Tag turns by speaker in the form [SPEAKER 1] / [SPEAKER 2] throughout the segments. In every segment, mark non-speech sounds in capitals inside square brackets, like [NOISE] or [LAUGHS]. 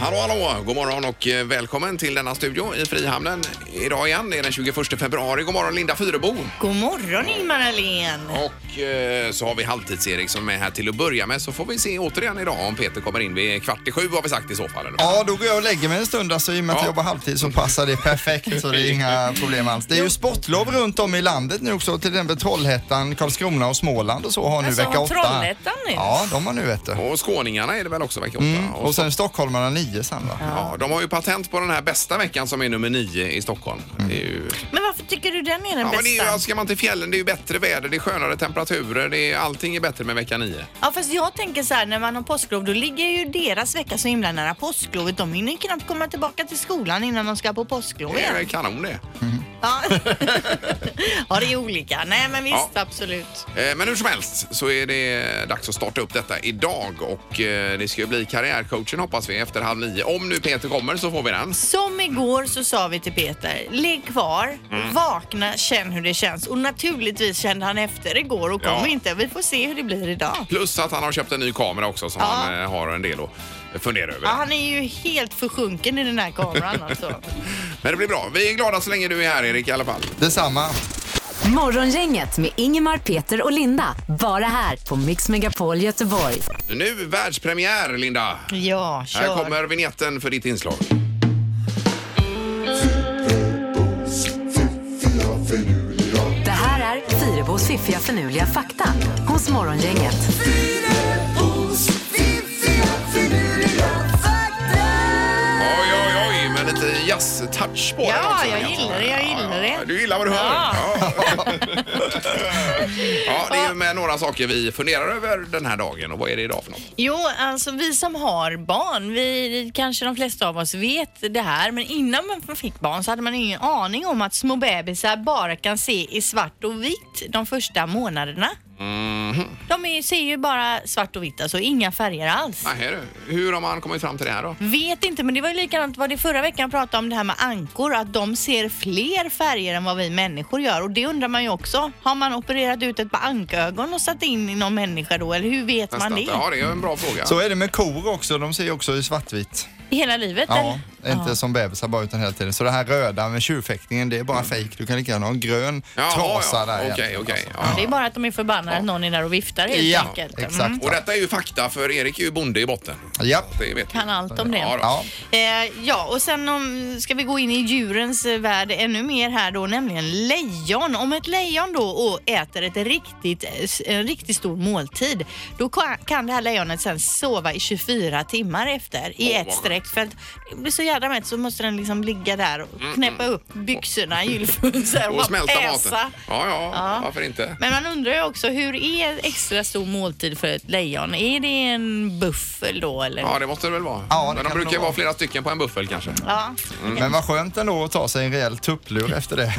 [SPEAKER 1] Hallå, hallå! God morgon och eh, välkommen till denna studio i Frihamnen. Idag igen, det är den 21 februari. God morgon Linda Fyrebo!
[SPEAKER 2] God morgon Ingmar Ahlén!
[SPEAKER 1] Och eh, så har vi Halvtids-Erik som är här till att börja med. Så får vi se återigen idag om Peter kommer in vid kvart i sju har vi sagt i så fall. Eller?
[SPEAKER 3] Ja, då går jag och lägger mig en stund. Alltså, I och med att
[SPEAKER 1] Ja.
[SPEAKER 3] jag jobbar halvtid så passar det perfekt. Så det är inga problem alls. Det är ju sportlov runt om i landet nu också. Till exempel Trollhättan, Karlskrona och Småland och så har nu
[SPEAKER 2] Alltså,
[SPEAKER 3] vecka
[SPEAKER 2] har
[SPEAKER 3] åtta.
[SPEAKER 2] Trollhättan nu?
[SPEAKER 3] Ja, de har nu vet du.
[SPEAKER 1] Och skåningarna är det väl också vecka åtta?
[SPEAKER 3] Mm. Och sen stockholmarna nio sen va?
[SPEAKER 1] Ja, de har ju patent på den här bästa veckan som är nummer nio i Stockholm. Det är ju...
[SPEAKER 2] Men varför tycker du den är den
[SPEAKER 1] Ja, men
[SPEAKER 2] bästa?
[SPEAKER 1] det är ju, ska man till fjällen, det är ju bättre väder, det är skönare temperaturer, det är, allting är bättre med vecka nio.
[SPEAKER 2] Ja fast jag tänker så här när man har påsklov då ligger ju deras vecka så himla nära påsklovet. De hinner ju knappt komma tillbaka till skolan innan de ska på påsklov
[SPEAKER 1] Det är
[SPEAKER 2] igen.
[SPEAKER 1] kanon det.
[SPEAKER 2] Ja. [LAUGHS] ja det är olika. Nej men visst absolut.
[SPEAKER 1] Eh, Men hur som helst så är det dags att starta upp detta idag och eh, det ska ju bli karriärcoachen hoppas vi efter halv nio. Om nu Peter kommer så får vi den.
[SPEAKER 2] Som igår så sa vi till Peter, ligg kvar,
[SPEAKER 1] Mm.
[SPEAKER 2] vakna, känn hur det känns. Och naturligtvis kände han efter igår och kom
[SPEAKER 1] Ja.
[SPEAKER 2] inte. Vi får se hur det blir idag.
[SPEAKER 1] Plus att han har köpt en ny kamera också som
[SPEAKER 2] Ja.
[SPEAKER 1] han eh, har en del att fundera över.
[SPEAKER 2] Ja, han är ju helt försjunken i den här kameran alltså.
[SPEAKER 1] Men det blir bra. Vi är glada så länge du är här Erik i alla fall.
[SPEAKER 3] Detsamma.
[SPEAKER 4] Morgongänget med Ingemar, Peter och Linda. Bara här på Mix Megapol Göteborg.
[SPEAKER 1] Nu världspremiär Linda!
[SPEAKER 2] Ja,
[SPEAKER 1] Här
[SPEAKER 2] kör.
[SPEAKER 1] kommer vignetten för ditt inslag.
[SPEAKER 4] Det här är Fyrabos fiffiga förnuliga fakta hos Morgongänget.
[SPEAKER 1] Oj, oj, oj, men lite jazz-touch på den
[SPEAKER 2] Ja,
[SPEAKER 1] också.
[SPEAKER 2] jag
[SPEAKER 1] Linda.
[SPEAKER 2] gillar det, jag gillar det.
[SPEAKER 1] Ja, Du gillar vad du hör?
[SPEAKER 2] Ja.
[SPEAKER 1] Ja.
[SPEAKER 2] [LAUGHS]
[SPEAKER 1] ja, det är ju med några saker vi funderar över den här dagen och vad är det idag för något?
[SPEAKER 2] Jo, alltså vi som har barn, vi kanske de flesta av oss vet det här, men innan man fick barn så hade man ingen aning om att små bebisar bara kan se i svart och vitt de första månaderna.
[SPEAKER 3] Mhm.
[SPEAKER 2] De är, ser ju bara svart och vitt, alltså inga färger alls.
[SPEAKER 1] Nej, här du. Hur har man kommit fram till det här då?
[SPEAKER 2] Vet inte, men det var ju likadant vad det förra veckan pratade om det här med ankor, att de ser fler färger än vad vi människor gör. Och det undrar man ju också. Har man opererat ut ett par ankögon och satt in i någon människa då? Eller hur vet man
[SPEAKER 1] Nästan.
[SPEAKER 2] det?
[SPEAKER 1] Ja, det är en bra fråga.
[SPEAKER 3] Så är det med kor också. De ser ju också i svartvitt.
[SPEAKER 2] Hela livet?
[SPEAKER 3] Ja,
[SPEAKER 2] eller?
[SPEAKER 3] inte som bebisar bara utan hela tiden. Så det här röda med tjurfäktningen, det är bara fejk. Du kan lika gärna ha en grön
[SPEAKER 1] Jaha,
[SPEAKER 3] trasa
[SPEAKER 1] Mm. ja.
[SPEAKER 3] där.
[SPEAKER 1] Okej,
[SPEAKER 3] egentligen,
[SPEAKER 1] okej.
[SPEAKER 3] alltså.
[SPEAKER 1] Ja.
[SPEAKER 2] Det är bara att de är förbannade att någon är där och viftar helt
[SPEAKER 3] Ja,
[SPEAKER 2] enkelt. Mm.
[SPEAKER 3] exakt.
[SPEAKER 1] Och detta är ju fakta för Erik är ju bonde i botten.
[SPEAKER 3] Japp.
[SPEAKER 1] Det vet vi.
[SPEAKER 2] Kan allt om det.
[SPEAKER 1] Ja, då.
[SPEAKER 3] Ja.
[SPEAKER 2] Eh, ja, och sen om, ska vi gå in i djurens eh, värld ännu mer här då, nämligen lejon. Om ett lejon då och äter ett riktigt, en riktigt stor måltid, då ka- kan det här lejonet sen sova i 24 timmar efter i
[SPEAKER 1] Åh,
[SPEAKER 2] ett
[SPEAKER 1] vad
[SPEAKER 2] streck. För att blir så jädra mätt så måste den liksom ligga där och knäppa upp byxorna i gylfen så här,
[SPEAKER 1] Mm, Och
[SPEAKER 2] bara
[SPEAKER 1] smälta maten.
[SPEAKER 2] äsa.
[SPEAKER 1] Ja, ja,
[SPEAKER 2] Ja.
[SPEAKER 1] varför inte?
[SPEAKER 2] Men man undrar ju också, hur är extra stor måltid för ett lejon? Är det en buffel då eller?
[SPEAKER 1] Ja, det måste det väl vara.
[SPEAKER 3] Ja, det
[SPEAKER 1] Men
[SPEAKER 3] kan
[SPEAKER 1] de
[SPEAKER 3] det
[SPEAKER 1] brukar ju
[SPEAKER 3] nog
[SPEAKER 1] vara
[SPEAKER 3] vara.
[SPEAKER 1] flera stycken på en buffel kanske.
[SPEAKER 2] Ja.
[SPEAKER 1] Mm.
[SPEAKER 3] Men vad skönt ändå att ta sig en rejäl tupplur
[SPEAKER 1] [LAUGHS]
[SPEAKER 3] efter det.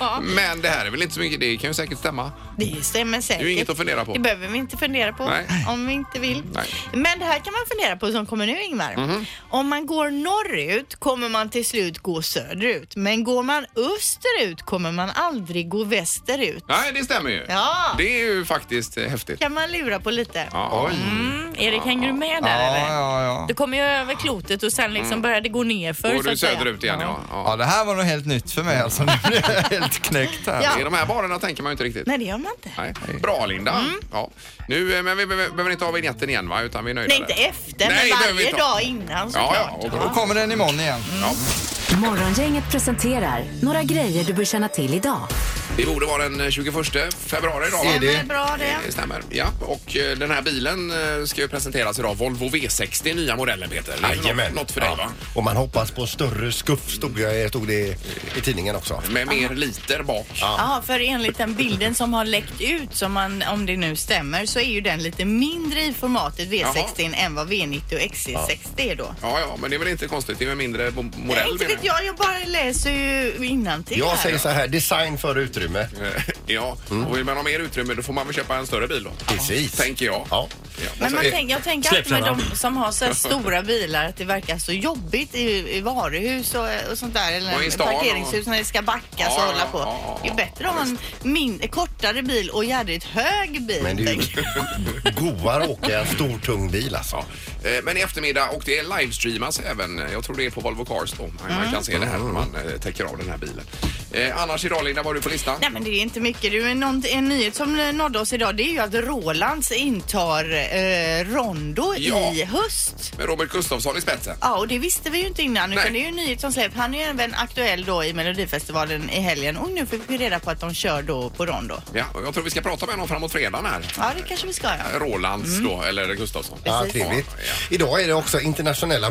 [SPEAKER 2] ja.
[SPEAKER 1] Men det här är väl inte så mycket, det kan ju säkert stämma.
[SPEAKER 2] Det stämmer säkert.
[SPEAKER 1] Det är ju inget att fundera på.
[SPEAKER 2] Det behöver vi inte fundera på
[SPEAKER 1] Nej.
[SPEAKER 2] om vi inte vill.
[SPEAKER 1] Nej. Mhm.
[SPEAKER 2] Men det här kan man fundera på som kommer nu Ingmar. Om man går norrut kommer man till slut gå söderut. Men går man österut kommer man aldrig gå västerut.
[SPEAKER 1] Nej, det stämmer ju.
[SPEAKER 2] Ja.
[SPEAKER 1] Det är ju faktiskt eh, häftigt.
[SPEAKER 2] kan man lura på lite.
[SPEAKER 1] Ja.
[SPEAKER 2] Mm, Erik, hänger du med där
[SPEAKER 3] Ja,
[SPEAKER 2] eller?
[SPEAKER 3] ja, ja.
[SPEAKER 2] Du kommer ju över klotet och sen liksom börjar det gå ner för
[SPEAKER 1] Mm. Går
[SPEAKER 2] så
[SPEAKER 1] du
[SPEAKER 2] att säga.
[SPEAKER 1] söderut igen, ja. ja.
[SPEAKER 3] Ja, det här var nog helt nytt för mig alltså. Nu blir jag helt knäckt här.
[SPEAKER 2] Ja.
[SPEAKER 1] I de här banorna tänker man ju inte riktigt.
[SPEAKER 2] Nej, Mm. det gör man inte.
[SPEAKER 1] Nej. Bra Linda. Ja. Nu, eh, men vi be- behöver inte ha vignetten igen va? Utan vi är nöjda
[SPEAKER 2] Nej,
[SPEAKER 1] där.
[SPEAKER 2] inte efter,
[SPEAKER 1] Nej, det
[SPEAKER 2] men
[SPEAKER 1] behöver vi
[SPEAKER 2] varje
[SPEAKER 1] inte ha.
[SPEAKER 2] dag innan
[SPEAKER 1] Ja,
[SPEAKER 2] såklart.
[SPEAKER 1] ja, och bra.
[SPEAKER 3] Då kommer den imorgon igen.
[SPEAKER 1] Ja.
[SPEAKER 4] Morgongänget presenterar några grejer du bör känna till idag.
[SPEAKER 1] Det borde vara den eh, 21 februari idag va?
[SPEAKER 3] Är
[SPEAKER 2] Ja,
[SPEAKER 3] det-
[SPEAKER 2] men bra det.
[SPEAKER 1] Det stämmer. Ja, och eh, den här bilen eh, ska ju presenteras idag. Volvo V60, nya modellen Peter. Det är
[SPEAKER 5] Jajamän.
[SPEAKER 1] Något, något för dig
[SPEAKER 5] Ja.
[SPEAKER 1] va?
[SPEAKER 5] Och man hoppas på större skuff stod, jag, stod det i tidningen också.
[SPEAKER 1] Med mer liter bak.
[SPEAKER 2] Ja, för enligt den bilden som har läckt ut, som man, om det nu stämmer, så är ju den lite mindre i formatet V60 än vad V90 och XC60 är då.
[SPEAKER 1] Ja, ja, men det är väl inte konstigt. Det är en mindre bo-
[SPEAKER 2] Nej,
[SPEAKER 1] modell.
[SPEAKER 2] inte
[SPEAKER 1] menar
[SPEAKER 2] vet jag, jag bara läser ju innantill
[SPEAKER 5] Jag
[SPEAKER 2] här.
[SPEAKER 5] säger så här, design före utrymme.
[SPEAKER 1] Eh, Ja, och vill man ha mer utrymme då får man väl köpa en större bil då.
[SPEAKER 5] Mm. Precis.
[SPEAKER 1] Tänker jag.
[SPEAKER 5] Ja. Alltså,
[SPEAKER 2] Men
[SPEAKER 1] så
[SPEAKER 2] man
[SPEAKER 1] är-
[SPEAKER 2] tänk, jag tänker alltid med
[SPEAKER 6] släppkärran.
[SPEAKER 2] de som
[SPEAKER 1] [LAUGHS]
[SPEAKER 2] har så här stora bilar att det verkar så jobbigt i, i varuhus och, och sånt där.
[SPEAKER 1] Och
[SPEAKER 2] Eller
[SPEAKER 1] i stan och-
[SPEAKER 2] parkeringshus när det ska backas
[SPEAKER 1] Ja,
[SPEAKER 2] och hålla
[SPEAKER 1] ja,
[SPEAKER 2] på.
[SPEAKER 1] ja, ja,
[SPEAKER 2] det är bättre att ha en min, kortare bil och jädrigt hög bil.
[SPEAKER 5] Men det är
[SPEAKER 2] tänker
[SPEAKER 5] ju [LAUGHS] goare att åka en stor tung bil alltså.
[SPEAKER 1] Eh, Men i eftermiddag och det livestreamas även. Jag tror det är på Volvo Cars då. Man
[SPEAKER 2] Mm.
[SPEAKER 1] man kan se det
[SPEAKER 5] Mm.
[SPEAKER 1] här när man eh, täcker av den här bilen. Eh, Annars idag Linda, var du på listan?
[SPEAKER 2] Nej men det är inte mycket. Det är någon, en nyhet som nådde oss idag det är ju att Rolands intar eh, Rondo
[SPEAKER 1] Ja.
[SPEAKER 2] i höst.
[SPEAKER 1] Med Robert Gustafsson i spetsen.
[SPEAKER 2] Ja, och det visste vi ju inte innan.
[SPEAKER 1] Nej.
[SPEAKER 2] Utan det är ju en nyhet som släpps. Han är ju även aktuell då i Melodifestivalen i helgen. Och nu fick vi reda på att de kör då på Rondo.
[SPEAKER 1] Ja, och jag tror vi ska prata med honom framåt fredagen här.
[SPEAKER 2] Ja, det kanske vi ska göra.
[SPEAKER 1] Rolands
[SPEAKER 2] Mm.
[SPEAKER 1] då, eller Gustafsson.
[SPEAKER 5] Ja, trevligt. Idag är det också internationella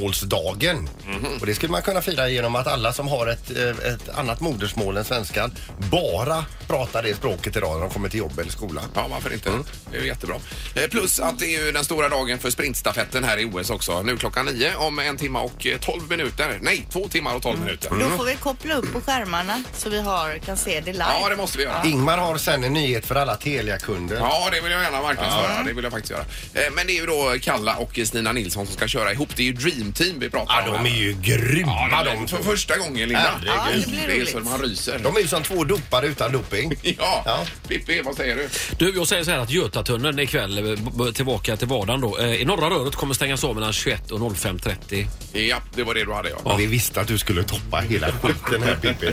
[SPEAKER 5] modersmålsdagen.
[SPEAKER 1] Mhm.
[SPEAKER 5] Och det skulle man kunna fira genom att alla som har ett, eh, ett annat modersmål än svenskan bara pratar det språket idag när de kommer till jobb eller skola.
[SPEAKER 1] Ja, varför inte?
[SPEAKER 5] Mm.
[SPEAKER 1] Det är ju jättebra. Eh, Plus att det är ju den stora dagen för sprintstafetten här i OS också. Nu klockan nio om en timme och eh, 12 minuter. Nej, två timmar och 12
[SPEAKER 5] Mm.
[SPEAKER 1] minuter.
[SPEAKER 2] Då får vi koppla upp på skärmarna så vi har, kan se det live.
[SPEAKER 1] Mm. Ja, det måste vi göra.
[SPEAKER 5] Ingmar har sen en nyhet för alla Telia-kunder.
[SPEAKER 1] Ja, det vill jag gärna marknadsföra. Det vill jag faktiskt göra. Eh, Men det är ju då Kalla och Stina Nilsson som ska köra ihop. Det är ju Dream Team vi pratar
[SPEAKER 5] Ja,
[SPEAKER 1] om. här.
[SPEAKER 5] de är ju grymma
[SPEAKER 1] Ja,
[SPEAKER 5] de
[SPEAKER 1] de för
[SPEAKER 5] två.
[SPEAKER 1] första gången, Linda.
[SPEAKER 5] Herregud. Ja,
[SPEAKER 2] det blir
[SPEAKER 1] är ju
[SPEAKER 2] roligt.
[SPEAKER 1] så man ryser.
[SPEAKER 5] De är ju som två dopare utan doping.
[SPEAKER 1] [LAUGHS] Ja,
[SPEAKER 5] Ja.
[SPEAKER 1] Pippi, vad säger du?
[SPEAKER 6] Du, jag säger så här att Götatunneln ikväll, eh, b- b- tillbaka till vardagen då. Eh, I norra röret kommer stängas av mellan 21 och 05.30.
[SPEAKER 1] Ja, det var det du hade, ja.
[SPEAKER 5] Vi visste att du skulle toppa hela skiten här
[SPEAKER 1] [LAUGHS]
[SPEAKER 5] Pippi.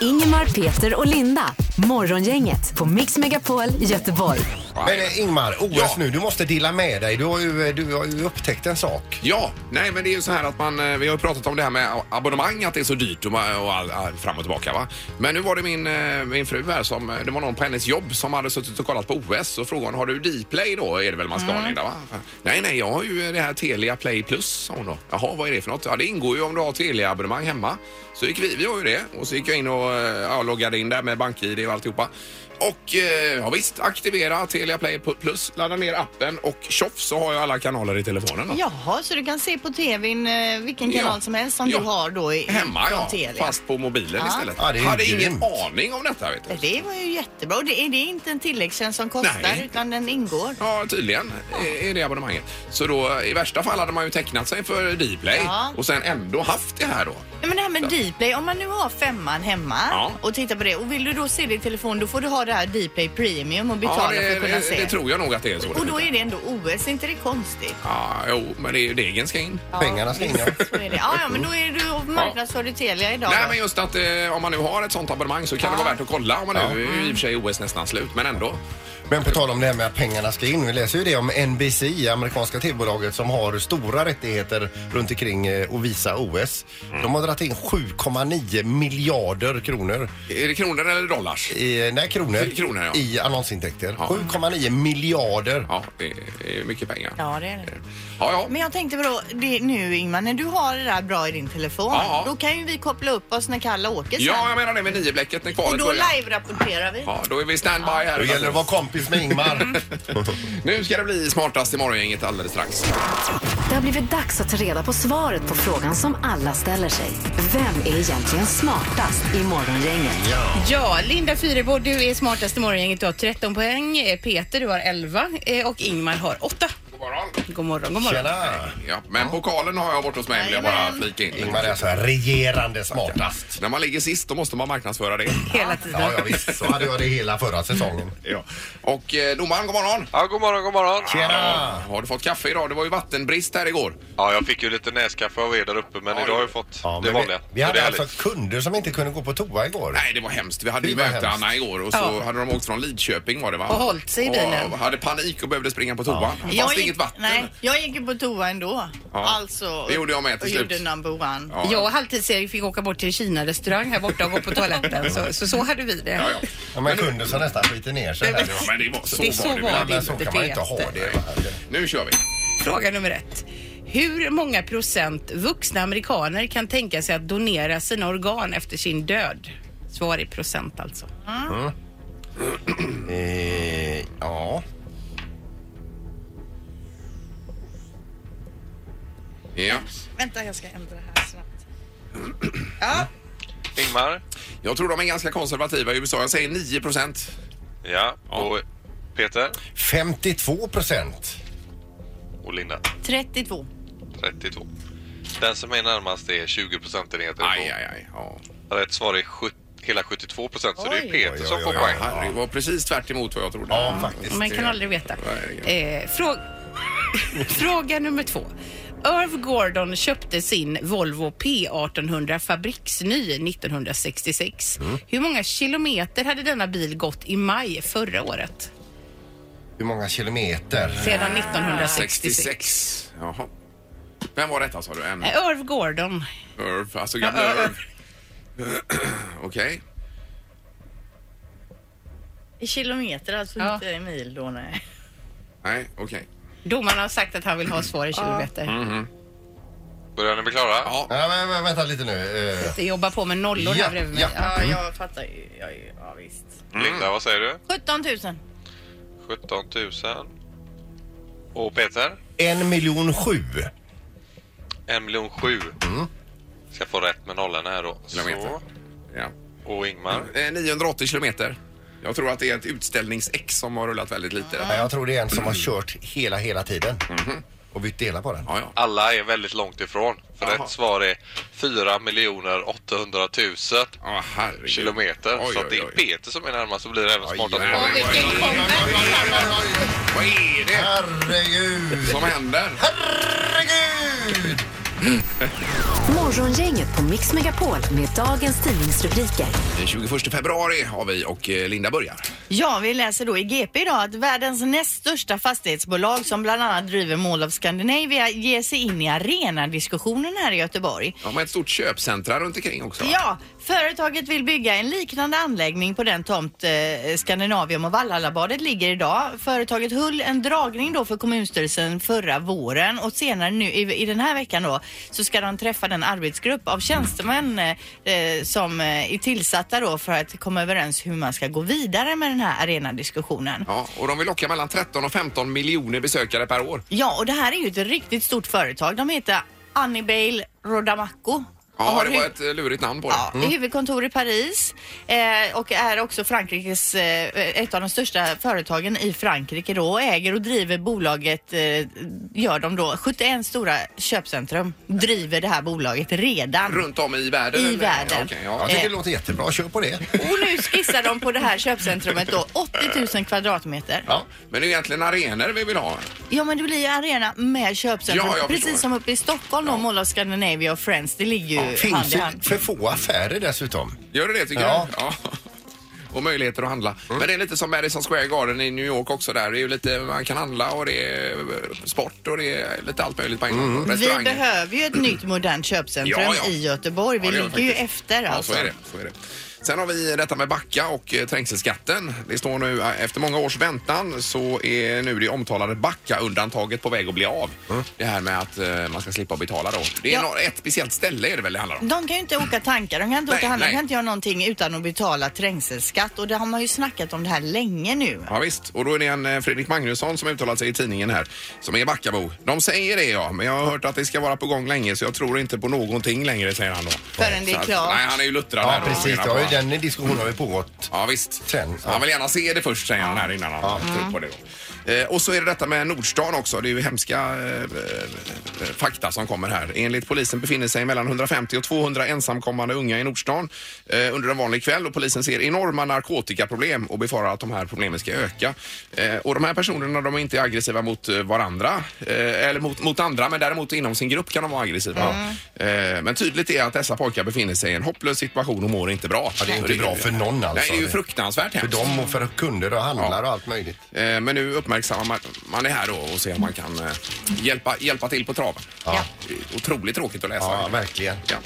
[SPEAKER 4] Ingemar, Peter och Linda. Morgongänget på Mix Megapol Göteborg.
[SPEAKER 5] Men eh, Ingmar, OS
[SPEAKER 1] Ja.
[SPEAKER 5] nu, du måste dela med dig. Du har, ju, eh, du har ju upptäckt en sak.
[SPEAKER 1] Ja, nej men det är ju så här att man, eh, vi har ju pratat om det här med a- abonnemang, att det är så dyrt och, ma- och all, all, fram och tillbaka va. Men nu var det min, eh, min fru här som, eh, det var någon på hennes jobb som hade suttit och kollat på OS och frågade hon, har du Dplay då? Är det väl man ska ha Linda va? Nej, nej, jag har ju det här Telia Play Plus, sa hon då. Jaha, vad är det för något? Ja, det ingår ju om du har Telia-abonnemang hemma. Så gick vi, vi har ju det. Och så gick jag in och eh, ja, loggade in där med BankID och alltihopa. Och eh, ja, visst, aktivera Telia Play Plus, ladda ner appen och tjoff så har jag alla kanaler i telefonen. Då.
[SPEAKER 2] Jaha, så du kan se på tvn eh, vilken
[SPEAKER 1] Ja.
[SPEAKER 2] kanal som helst som
[SPEAKER 1] Ja.
[SPEAKER 2] du har då i,
[SPEAKER 1] Hemma
[SPEAKER 2] från
[SPEAKER 1] ja,
[SPEAKER 2] Telia.
[SPEAKER 1] fast på mobilen
[SPEAKER 2] Ja.
[SPEAKER 1] istället.
[SPEAKER 5] Ja, det är ju
[SPEAKER 1] Hade ingen
[SPEAKER 5] grymt.
[SPEAKER 1] aning om detta vet du.
[SPEAKER 2] Det var ju jättebra. Och det är det inte en tilläggstjänst som kostar
[SPEAKER 1] Nej.
[SPEAKER 2] utan den ingår.
[SPEAKER 1] Ja, tydligen är- är det abonnemanget. Så då i värsta fall hade man ju tecknat sig för Dplay
[SPEAKER 2] Ja.
[SPEAKER 1] och sen ändå haft det här då.
[SPEAKER 2] Nej, men det här med Dplay, om man nu har femman hemma
[SPEAKER 1] Ja.
[SPEAKER 2] och tittar på det och vill du då se det i telefon då får du ha det här Dplay Premium och betala
[SPEAKER 1] det,
[SPEAKER 2] för att kunna
[SPEAKER 1] det,
[SPEAKER 2] se.
[SPEAKER 1] det tror jag nog att det är så.
[SPEAKER 2] och då är det ändå OS, inte det konstigt?
[SPEAKER 1] Ja, jo, men det är ju degen ska in.
[SPEAKER 5] Pengarna ska in. ja.
[SPEAKER 2] Så är det. Ja, ja, men då är du och marknadsför du Telia idag.
[SPEAKER 1] Nej,
[SPEAKER 2] då.
[SPEAKER 1] men just att eh, om man nu har ett sånt abonnemang så kan det vara värt att kolla. Om man nu är ju i och för sig OS nästan slut, men ändå.
[SPEAKER 5] Men på tal om det här med att pengarna ska in. Vi läser ju det om NBC, amerikanska tv-bolaget som har stora rättigheter runt omkring eh, att visa OS.
[SPEAKER 1] Mm.
[SPEAKER 5] De har dragit in 7,9 miljarder kronor.
[SPEAKER 1] Är det kronor eller dollars?
[SPEAKER 5] I, eh, nej, kronor.
[SPEAKER 1] Kronor, ja.
[SPEAKER 5] I annonsintäkter.
[SPEAKER 1] Ja.
[SPEAKER 5] 7,9 miljarder.
[SPEAKER 1] Ja, det är mycket pengar. Ja,
[SPEAKER 2] Ja, det är det.
[SPEAKER 1] ja.
[SPEAKER 2] Men jag tänkte på då, det nu Ingmar, när du har det där bra i din telefon,
[SPEAKER 1] Ja.
[SPEAKER 2] då kan ju vi koppla upp oss när Kalle åker sen.
[SPEAKER 1] Ja, jag menar det med nioblecket när
[SPEAKER 2] och
[SPEAKER 1] kvalet
[SPEAKER 2] då
[SPEAKER 1] börjar.
[SPEAKER 2] live-rapporterar vi.
[SPEAKER 1] Ja, då är vi standby här.
[SPEAKER 5] Då gäller det att vara kompis
[SPEAKER 1] [LAUGHS]
[SPEAKER 5] med Ingmar.
[SPEAKER 1] Nu ska det bli smartast i morgongänget alldeles strax.
[SPEAKER 4] Det har blivit dags att ta reda på svaret på frågan som alla ställer sig. Vem är egentligen smartast i morgongänget?
[SPEAKER 7] Ja, Linda Fyrebo, du är smartast i morgongänget. Du har 13 poäng. Eh, Peter, du har 11 eh, och Ingmar har 8.
[SPEAKER 1] God morgon.
[SPEAKER 7] God morgon, god morgon.
[SPEAKER 5] Tjena!
[SPEAKER 1] Ja, men pokalen har jag bort hos mig vill jag bara flika in.
[SPEAKER 5] Ingmar är alltså regerande smartast.
[SPEAKER 1] När man ligger sist då måste man marknadsföra det.
[SPEAKER 7] Hela tiden.
[SPEAKER 5] Ja, ja, visst. Så hade jag det hela förra säsongen.
[SPEAKER 1] Ja. Och eh, domaren, god morgon.
[SPEAKER 8] Ja, god morgon, god morgon.
[SPEAKER 1] Ja, har du fått kaffe idag? Det var ju vattenbrist här igår.
[SPEAKER 8] Ja, jag fick ju lite näskaffe av er där uppe, men
[SPEAKER 1] Ja,
[SPEAKER 8] idag har
[SPEAKER 1] det-
[SPEAKER 8] jag fått
[SPEAKER 5] Ja, men
[SPEAKER 8] det vanliga.
[SPEAKER 5] vi, vi
[SPEAKER 8] Så det
[SPEAKER 5] hade
[SPEAKER 8] är
[SPEAKER 5] alltså
[SPEAKER 8] härligt.
[SPEAKER 5] kunder som inte kunde gå på toa igår.
[SPEAKER 1] Nej, det var hemskt. Vi hade ju
[SPEAKER 5] Det var
[SPEAKER 1] möte
[SPEAKER 5] hemskt.
[SPEAKER 1] Anna igår och så hade de åkt från Lidköping var det va?
[SPEAKER 7] Och hållit sig i bilen.
[SPEAKER 1] Och hade panik och behövde springa på toan.
[SPEAKER 2] Jag
[SPEAKER 1] Fast
[SPEAKER 2] gick-
[SPEAKER 1] inget vatten.
[SPEAKER 2] Nej, jag gick ju på toa ändå.
[SPEAKER 1] Ja,
[SPEAKER 2] Alltså,
[SPEAKER 1] det gjorde jag med till
[SPEAKER 2] och
[SPEAKER 1] slut.
[SPEAKER 2] gjorde number one.
[SPEAKER 1] Ja,
[SPEAKER 7] Jag och halvtids-Erik fick åka bort till Kina-restaurang här borta och gå på toaletten. Så, så, så hade vi det.
[SPEAKER 1] Ja, ja.
[SPEAKER 5] Ja, men kunder som nästan skiter ner sig. Här.
[SPEAKER 1] ja, men det var så,
[SPEAKER 7] Det är så
[SPEAKER 1] var det.
[SPEAKER 7] var
[SPEAKER 5] Ja,
[SPEAKER 1] ibland.
[SPEAKER 7] det.
[SPEAKER 5] men så kan man ju inte ha det.
[SPEAKER 1] Nu kör vi.
[SPEAKER 7] Fråga nummer ett. Hur många procent vuxna amerikaner kan tänka sig att donera sina organ efter sin död? Svar i procent alltså.
[SPEAKER 5] Eh, ja.
[SPEAKER 1] Ja.
[SPEAKER 2] Vänta, jag ska ändra här snabbt.
[SPEAKER 8] Ingmar?
[SPEAKER 1] Jag tror de är ganska konservativa i USA. Jag säger 9 procent.
[SPEAKER 8] Ja. Och Peter
[SPEAKER 5] 52 procent.
[SPEAKER 8] och Linda.
[SPEAKER 2] 32.
[SPEAKER 8] 32. Den som är närmast är 20 procentenheter
[SPEAKER 1] Aj,
[SPEAKER 8] ifrån.
[SPEAKER 1] aj, aj. Ja.
[SPEAKER 8] Rätt svar är 70, hela 72 procent, så det
[SPEAKER 7] Oj.
[SPEAKER 8] är Peter
[SPEAKER 5] Oj,
[SPEAKER 8] som
[SPEAKER 5] oj,
[SPEAKER 8] får
[SPEAKER 5] oj,
[SPEAKER 8] poäng.
[SPEAKER 1] Herre, det var precis tvärt emot vad jag trodde.
[SPEAKER 5] Ja, faktiskt.
[SPEAKER 7] Man kan aldrig veta.
[SPEAKER 1] Verkligen.
[SPEAKER 7] Eh, frå- [LAUGHS] Fråga nummer två. Irv Gordon köpte sin Volvo P1800 fabriksny 1966. Hur många kilometer hade denna bil gått i maj förra året?
[SPEAKER 5] Hur många kilometer?
[SPEAKER 7] Sedan 1966.
[SPEAKER 1] 66. Jaha. Vem var detta sa du? En
[SPEAKER 7] Eh, Irv Gordon.
[SPEAKER 1] Irv, alltså gamla
[SPEAKER 7] Ja,
[SPEAKER 1] Irv. [CLEARS THROAT] Okej.
[SPEAKER 2] I kilometer, alltså
[SPEAKER 7] Ja.
[SPEAKER 2] inte i mil då nej.
[SPEAKER 1] Nej, okej.
[SPEAKER 7] Domaren har sagt att han vill ha svar i kilometer.
[SPEAKER 5] Mm.
[SPEAKER 8] Börjar ni bli klara?
[SPEAKER 1] Ja.
[SPEAKER 5] Ja, men, men, vänta lite nu. eh,
[SPEAKER 7] Det jobbar på med nollor
[SPEAKER 5] Ja,
[SPEAKER 7] här bredvid mig.
[SPEAKER 5] ja. Mm.
[SPEAKER 2] Ja, jag fattar ju. Jag, är ju- ja, visst.
[SPEAKER 8] Linda, vad säger du?
[SPEAKER 2] 17 000.
[SPEAKER 8] 17 000. Och Peter?
[SPEAKER 5] En miljon sju.
[SPEAKER 8] 1 miljon 7. Ska få rätt med nollorna här då.
[SPEAKER 1] Kilometer.
[SPEAKER 8] Så.
[SPEAKER 1] Ja.
[SPEAKER 8] Och Ingmar?
[SPEAKER 1] Eh, 980 kilometer. Jag tror att det är ett utställnings-X som har rullat väldigt lite.
[SPEAKER 5] Ja, jag tror det är en som har kört hela, hela tiden.
[SPEAKER 8] Mhm.
[SPEAKER 5] Och bytt delar på den.
[SPEAKER 1] Ja, ja.
[SPEAKER 8] Alla är väldigt långt ifrån. För
[SPEAKER 1] Jaha.
[SPEAKER 8] rätt svar är 4 miljoner 800 000
[SPEAKER 1] Ja, herregud.
[SPEAKER 8] kilometer.
[SPEAKER 1] Oj,
[SPEAKER 8] så att det
[SPEAKER 1] oj,
[SPEAKER 8] är
[SPEAKER 1] oj.
[SPEAKER 8] Peter som är närmast och blir även
[SPEAKER 5] Oj,
[SPEAKER 8] smartast.
[SPEAKER 5] oj, oj.
[SPEAKER 1] Vad är det
[SPEAKER 5] Herregud!
[SPEAKER 1] som händer?
[SPEAKER 5] Herregud!
[SPEAKER 4] Morgongänget på Mix Megapol med dagens tidningsrubriker.
[SPEAKER 1] Den 21 februari har vi och eh, Linda börjar.
[SPEAKER 2] Ja, vi läser då i GP idag att världens näst största fastighetsbolag som bland annat driver Mall of Scandinavia ger sig in i arenadiskussionen här i Göteborg.
[SPEAKER 1] De har ett stort köpcentra runt omkring också. va?
[SPEAKER 2] Ja, företaget vill bygga en liknande anläggning på den tomt eh, Skandinavium och Vallhallabadet ligger idag. Företaget höll en dragning då för kommunstyrelsen förra våren och senare nu i, i den här veckan då så ska de träffa den arbetsgrupp av tjänstemän eh, eh, som eh, är tillsatta då för att komma överens hur man ska gå vidare med den här arenadiskussionen.
[SPEAKER 1] Ja, och de vill locka mellan 13 och 15 miljoner besökare per år.
[SPEAKER 2] Ja, och det här är ju ett riktigt stort företag. De heter Annibale Rodamaco. Och
[SPEAKER 1] Ja,
[SPEAKER 2] har
[SPEAKER 1] det
[SPEAKER 2] hu-
[SPEAKER 1] var ett eh, lurigt namn på det.
[SPEAKER 2] Ja, huvudkontor i Paris eh, och är också Frankrikes, eh, ett av de största företagen i Frankrike då och äger och driver bolaget, eh, gör de då, 71 stora köpcentrum driver det här bolaget redan.
[SPEAKER 1] Runt om i världen?
[SPEAKER 2] I
[SPEAKER 1] eller?
[SPEAKER 2] världen.
[SPEAKER 1] Okej,
[SPEAKER 5] Jag
[SPEAKER 1] ja.
[SPEAKER 8] Eh.
[SPEAKER 5] tycker det låter jättebra. Kör på det.
[SPEAKER 2] Och nu skissar de på det här köpcentrumet då 80 000 kvadratmeter.
[SPEAKER 1] Ja, men det är egentligen arenor vi vill ha.
[SPEAKER 2] Ja men det blir ju arena med köpcentrum.
[SPEAKER 1] Ja, jag
[SPEAKER 2] Precis
[SPEAKER 1] förstår.
[SPEAKER 2] som uppe i Stockholm då, Mall of Scandinavia och Friends. Det ligger ju hand
[SPEAKER 5] Finns
[SPEAKER 2] i
[SPEAKER 5] det
[SPEAKER 2] hand.
[SPEAKER 5] för få affärer dessutom?
[SPEAKER 1] Gör det det tycker
[SPEAKER 5] Ja.
[SPEAKER 1] du? Ja. [LAUGHS] Och möjligheter att handla. Men det är lite som Madison Square Garden i New York också där. Det är ju lite, man kan handla och det är eh, sport och det är lite allt möjligt på en gång.
[SPEAKER 2] Mm. Vi
[SPEAKER 1] Restauranger.
[SPEAKER 2] behöver ju ett nytt modernt köpcentrum
[SPEAKER 1] Ja, ja.
[SPEAKER 2] i Göteborg. Vi
[SPEAKER 1] Ja, det gör
[SPEAKER 2] ligger ju
[SPEAKER 1] faktiskt.
[SPEAKER 2] efter
[SPEAKER 1] Ja,
[SPEAKER 2] alltså.
[SPEAKER 1] så är det. Så är det. Sen har vi detta med Backa och eh, trängselskatten. Det står nu eh, efter många års väntan så är nu det omtalade Backa-undantaget på väg att bli av. Det här med att eh, man ska slippa att betala då. Det är
[SPEAKER 2] Mm. Ja.
[SPEAKER 1] nå- ett speciellt ställe är det väl det handlar om?
[SPEAKER 2] De kan ju inte åka tankar, de kan inte
[SPEAKER 1] Nej,
[SPEAKER 2] åka handla, de
[SPEAKER 1] nej.
[SPEAKER 2] kan inte göra någonting utan att betala trängselskatt och det har man ju snackat om det här länge nu.
[SPEAKER 1] Ja, visst. och då är det en eh, Fredrik Magnusson som uttalat sig i tidningen här, som är Backabo. De säger det ja, men jag har hört att det ska vara på gång länge så jag tror inte på någonting längre, säger han då.
[SPEAKER 2] Förrän det är
[SPEAKER 1] Så att-
[SPEAKER 2] klart.
[SPEAKER 1] Nej, han är ju luttrad
[SPEAKER 5] Ja,
[SPEAKER 1] här. och
[SPEAKER 5] precis.
[SPEAKER 1] menar
[SPEAKER 5] Det har
[SPEAKER 1] på
[SPEAKER 5] ju
[SPEAKER 1] att-
[SPEAKER 5] den diskussionen har ju pågått.
[SPEAKER 1] Ja visst.
[SPEAKER 5] Sen, ja.
[SPEAKER 1] Han vill gärna se det först säger han här innan han tror på det. Då. Eh, och så är det detta med Nordstan också. Det är ju hemska eh, eh, fakta som kommer här. Enligt polisen befinner sig mellan 150 och 200 ensamkommande unga i Nordstan eh, under en vanlig kväll och polisen ser enorma narkotikaproblem och befarar att de här problemen ska öka. Eh, och de här personerna de är inte aggressiva mot eh, varandra eh, eller mot, mot andra men däremot inom sin grupp kan de vara aggressiva. Eh, men tydligt är att dessa pojkar befinner sig i en hopplös situation och mår inte bra.
[SPEAKER 5] Ja, det är inte bra för någon alltså.
[SPEAKER 1] Nej, det är ju fruktansvärt
[SPEAKER 5] För
[SPEAKER 1] hemskt.
[SPEAKER 5] dem och för kunder och handlare
[SPEAKER 1] Ja.
[SPEAKER 5] och allt möjligt.
[SPEAKER 1] Eh, Men nu uppmärksammar man- man det här då och ser om man kan eh, hjälpa, hjälpa till på traven.
[SPEAKER 5] Ja.
[SPEAKER 1] Det är Otroligt tråkigt att läsa.
[SPEAKER 5] Ja, verkligen.
[SPEAKER 1] Ja.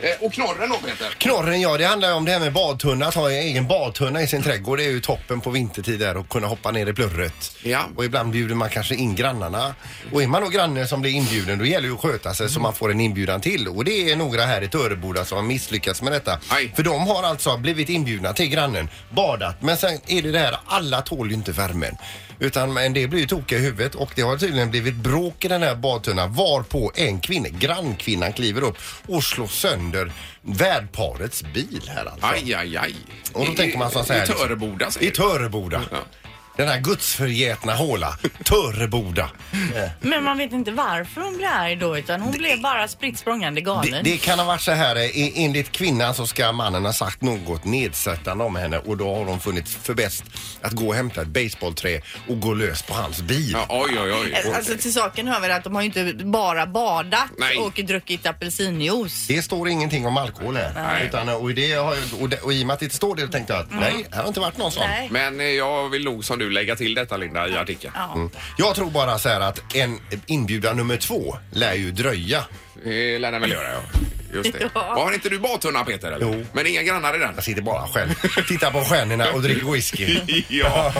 [SPEAKER 1] Eh, Och knorren då Peter?
[SPEAKER 5] Knorren ja, det handlar ju om det här med badtunna. Att ha en egen badtunna i sin trädgård det är ju toppen på vintertid där och kunna hoppa ner i plurret.
[SPEAKER 1] Ja.
[SPEAKER 5] Och ibland bjuder man kanske in grannarna. Och är man då granne som blir inbjuden då gäller det ju att sköta sig så man får en inbjudan till. Och det är några här i Töreboda som har misslyckats med detta.
[SPEAKER 1] Aj.
[SPEAKER 5] För de har alltså blivit inbjudna till grannen, badat. Men sen är det det här, alla tål ju inte värmen. Utan en del blir ju tokiga i huvudet och det har tydligen blivit bråk i den här badtunnan varpå en kvinna, grannkvinnan kliver upp och slår sönder värdparets bil här alltså.
[SPEAKER 1] Aj, aj, aj.
[SPEAKER 5] Och då
[SPEAKER 1] I-
[SPEAKER 5] tänker man så här. liksom.
[SPEAKER 1] I Töreboda
[SPEAKER 5] I
[SPEAKER 1] säger du?
[SPEAKER 5] Töreboda.
[SPEAKER 1] Ja.
[SPEAKER 5] Den här gudsförgätna håla. Törreboda. Eh,
[SPEAKER 2] Men man vet inte varför hon blev arg då utan hon blev bara spritt språngande
[SPEAKER 5] Det,
[SPEAKER 2] galen.
[SPEAKER 5] det kan ha varit så här, eh, e- enligt kvinnan så ska mannen ha sagt något nedsättande om henne och då har hon funnit för bäst att gå och hämta ett baseballträ och gå lös på hans bil.
[SPEAKER 1] Ja, oj, oj, oj.
[SPEAKER 2] Alltså till saken hör väl att de har ju inte bara badat
[SPEAKER 1] Nej.
[SPEAKER 2] och druckit apelsinjuice.
[SPEAKER 5] Det står ingenting om alkohol här.
[SPEAKER 1] Nej.
[SPEAKER 5] Utan, eh, och, i det har, jag- och, det, och i och med att det inte står det tänkte jag att nej, det har inte varit någon sån.
[SPEAKER 2] Nej.
[SPEAKER 1] Men eh, jag vill nog som du lägga till detta Linda i artikeln.
[SPEAKER 2] Ja.
[SPEAKER 5] Mm. Jag tror bara så här att en inbjudan nummer två lär ju dröja.
[SPEAKER 1] Det lär den väl göra ja. Just det.
[SPEAKER 2] [LAUGHS] Ja.
[SPEAKER 1] Har inte du badtunna Peter? Eller?
[SPEAKER 5] Jo. Alltså,
[SPEAKER 1] Men inga grannar i den?
[SPEAKER 5] [LAUGHS] Jag sitter bara själv, tittar på stjärnorna och dricker
[SPEAKER 1] [LAUGHS]
[SPEAKER 5] whisky.
[SPEAKER 1] Ja.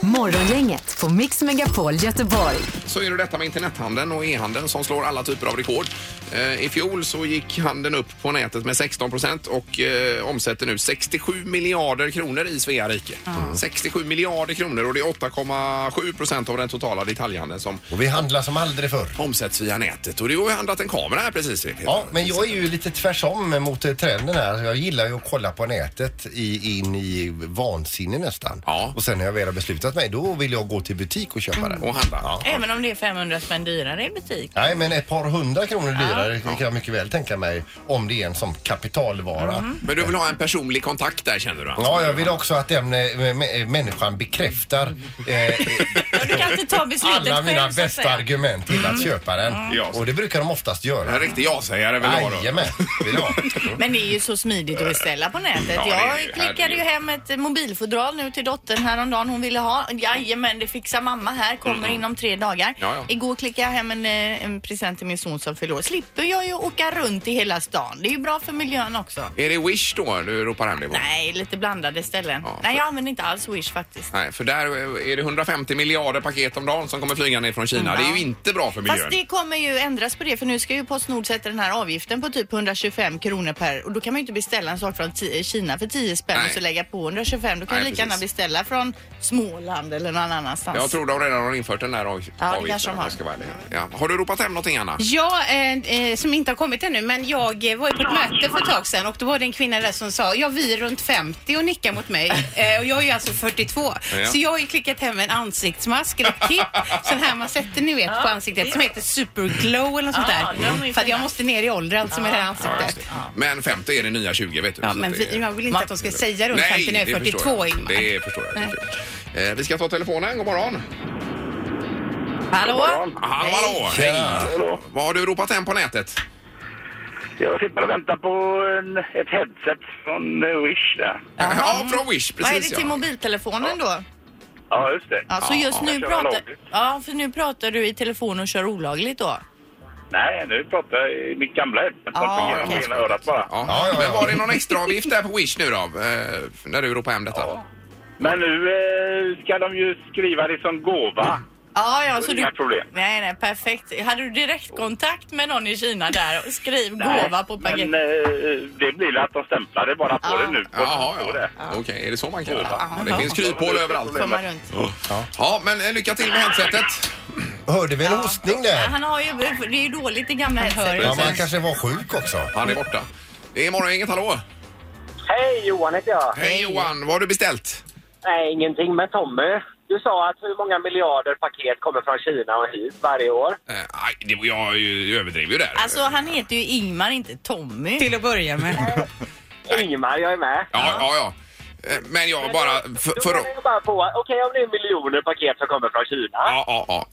[SPEAKER 4] Morgongänget på Mix Megapol Göteborg.
[SPEAKER 1] så är det detta med internethandeln och e-handeln som slår alla typer av rekord. Eh, I fjol så gick handeln upp på nätet med 16 procent och eh, omsätter nu 67 miljarder kronor i Svea rike. 67 miljarder kronor och det är 8,7 procent av den totala detaljhandeln som
[SPEAKER 5] Och vi handlar som aldrig förr.
[SPEAKER 1] omsätts via nätet. Och du har ju handlat en kamera här precis. Peter.
[SPEAKER 5] Ja, men jag är ju lite tvärsom mot eh, trenden här. Jag gillar ju att kolla på nätet i, in i vansinne nästan.
[SPEAKER 1] Ja. Mm.
[SPEAKER 5] Och sen när jag väl har beslutat mig, då vill jag gå till butik och köpa den.
[SPEAKER 1] Och handla.
[SPEAKER 2] Även om det är 500 spänn dyrare i butik.
[SPEAKER 5] Nej, men ett par hundra kronor dyrare kan jag mycket väl tänka mig om det är en som kapitalvara.
[SPEAKER 1] Men du vill ha en personlig kontakt där känner du? alltså?
[SPEAKER 5] Ja, jag vill också att den eh, mä- människan bekräftar
[SPEAKER 1] [LAUGHS]
[SPEAKER 5] eh, eh,
[SPEAKER 2] Du kan inte ta beslutet
[SPEAKER 5] alla mina
[SPEAKER 2] själv, så att
[SPEAKER 5] bästa
[SPEAKER 2] säga.
[SPEAKER 5] argument till att köpa den.
[SPEAKER 1] Mm. Ja.
[SPEAKER 5] Och det brukar de oftast
[SPEAKER 1] En
[SPEAKER 5] göra.
[SPEAKER 1] riktig ja-sägare vill du ha då?
[SPEAKER 5] Jajamän, vill
[SPEAKER 1] [LAUGHS]
[SPEAKER 5] jag.
[SPEAKER 2] Men det är ju så smidigt att beställa på nätet.
[SPEAKER 1] Ja, det är
[SPEAKER 2] jag
[SPEAKER 1] ju
[SPEAKER 2] klickade
[SPEAKER 1] härligt.
[SPEAKER 2] ju hem ett mobilfodral nu till dottern häromdagen. Hon ville ha. Jajamän, det fixar mamma här. Kommer inom tre dagar.
[SPEAKER 1] Mm. Ja, ja.
[SPEAKER 2] Igår klickade jag hem en, eh, en present till min son som fyller år. Slipper jag ju åka runt i hela stan. Det är ju bra för miljön också.
[SPEAKER 1] Är det Wish då du ropar hem det på?
[SPEAKER 2] Nej, lite blandade ställen.
[SPEAKER 1] Ja, för-
[SPEAKER 2] Nej, jag använder inte alls Wish faktiskt.
[SPEAKER 1] Nej, för där är det 150 miljarder paket om dagen som kommer flyga ner från Kina. Det är ju inte bra för miljön.
[SPEAKER 2] Fast det kommer ju ändras på det för nu ska ju Postnord sätta den här avgiften på typ 125 kronor per och då kan man ju inte beställa en sak från ti- Kina för 10 spänn
[SPEAKER 1] Nej.
[SPEAKER 2] och så lägga på 125. Då kan
[SPEAKER 1] Nej,
[SPEAKER 2] du lika gärna
[SPEAKER 1] precis.
[SPEAKER 2] beställa från Småland eller någon annanstans.
[SPEAKER 1] Jag tror de redan har infört den där av- avgiften.
[SPEAKER 2] det kanske de
[SPEAKER 1] om
[SPEAKER 2] har.
[SPEAKER 1] jag ska vara ärlig. Ja. Har du ropat hem någonting Anna?
[SPEAKER 7] Ja, eh, eh, som inte har kommit ännu, men jag eh, var ju på ett möte för ett tag sedan och då var det en kvinna där som sa, ja vi är runt 50 och nickar mot mig eh, och jag är ju alltså 42.
[SPEAKER 1] Ja.
[SPEAKER 7] Så jag har ju klickat hem en ansiktsmask, eller ett kit, sån här man sätter ni vet på ansiktet som heter superglow eller något sånt
[SPEAKER 2] Ja, de är ju
[SPEAKER 7] där. För att
[SPEAKER 2] fina.
[SPEAKER 7] jag måste ner i ålder alltså med det här ansiktet.
[SPEAKER 1] Men 50 är det nya 20 vet du.
[SPEAKER 7] Ja,
[SPEAKER 1] så
[SPEAKER 7] men
[SPEAKER 1] att
[SPEAKER 7] vi,
[SPEAKER 1] det...
[SPEAKER 7] jag vill inte att de ska säga runt 50 när jag är
[SPEAKER 1] det
[SPEAKER 7] 42
[SPEAKER 1] förstår jag.
[SPEAKER 7] Ingmar.
[SPEAKER 1] Det förstår jag. Det är kul. Eh, vi ska ta telefonen. God morgon.
[SPEAKER 2] Hallå?
[SPEAKER 1] Hallå, hallå.
[SPEAKER 9] Hallå.
[SPEAKER 1] Vad har du ropat hem på nätet?
[SPEAKER 9] Jag sitter och väntar på en, ett headset från eh, Wish där.
[SPEAKER 1] Ja, från Wish.
[SPEAKER 2] Vad är
[SPEAKER 1] Precis
[SPEAKER 2] det till
[SPEAKER 1] ja.
[SPEAKER 2] mobiltelefonen då?
[SPEAKER 9] Ja, just det.
[SPEAKER 2] Ja, så just nu
[SPEAKER 9] jag kör
[SPEAKER 2] pratar...
[SPEAKER 9] olagligt.
[SPEAKER 2] Ja, för nu pratar du i telefon och kör olagligt då?
[SPEAKER 9] Nej, nu pratar jag i mitt gamla headset som
[SPEAKER 2] Ja,
[SPEAKER 9] fungerar
[SPEAKER 2] okej.
[SPEAKER 9] med ena örat bara.
[SPEAKER 1] Ja.
[SPEAKER 5] Ja, ja, ja.
[SPEAKER 1] Men var det någon extra avgift där på Wish nu då? Eh, när du ropade hem detta?
[SPEAKER 9] Ja. Men nu eh, ska de ju skriva det som gåva.
[SPEAKER 2] Ja, ja, så
[SPEAKER 9] Inga
[SPEAKER 2] du...
[SPEAKER 9] problem.
[SPEAKER 2] Nej, nej, perfekt. Hade du direktkontakt med någon i Kina där? och Skriv gåva på paketet.
[SPEAKER 9] Men eh, det blir att de stämplar det bara på
[SPEAKER 2] Ja.
[SPEAKER 9] det nu. På
[SPEAKER 1] Jaha,
[SPEAKER 9] på
[SPEAKER 1] ja.
[SPEAKER 9] det.
[SPEAKER 1] Okej, är det så man kan göra?
[SPEAKER 2] Ja.
[SPEAKER 1] Det finns kryphål överallt.
[SPEAKER 2] Komma runt.
[SPEAKER 1] Ja, men eh, lycka till med headsetet.
[SPEAKER 5] Hörde vi en hostning
[SPEAKER 2] Ja,
[SPEAKER 5] där?
[SPEAKER 2] Han har ju, det är ju dåligt i gamla
[SPEAKER 7] hör
[SPEAKER 2] headset.
[SPEAKER 5] Ja, man kanske var sjuk också.
[SPEAKER 1] Han är borta. Det är morgongänget, hallå!
[SPEAKER 10] Hej, Johan heter jag.
[SPEAKER 1] Hej Johan, vad har du beställt?
[SPEAKER 10] Nej, ingenting med Tommy. Du sa att hur många miljarder paket kommer från Kina och hit varje år?
[SPEAKER 1] Eh, aj, det, jag ju- överdrev ju där.
[SPEAKER 2] Alltså han heter ju Ingmar, inte Tommy.
[SPEAKER 7] Till att börja med.
[SPEAKER 10] Ingemar, jag är med.
[SPEAKER 1] ja, ja, ja. Eh, Men jag bara... För,
[SPEAKER 10] Då
[SPEAKER 1] för,
[SPEAKER 10] menar jag bara på att, okej om det är miljoner paket som kommer från Kina.
[SPEAKER 1] ja, ja, ja.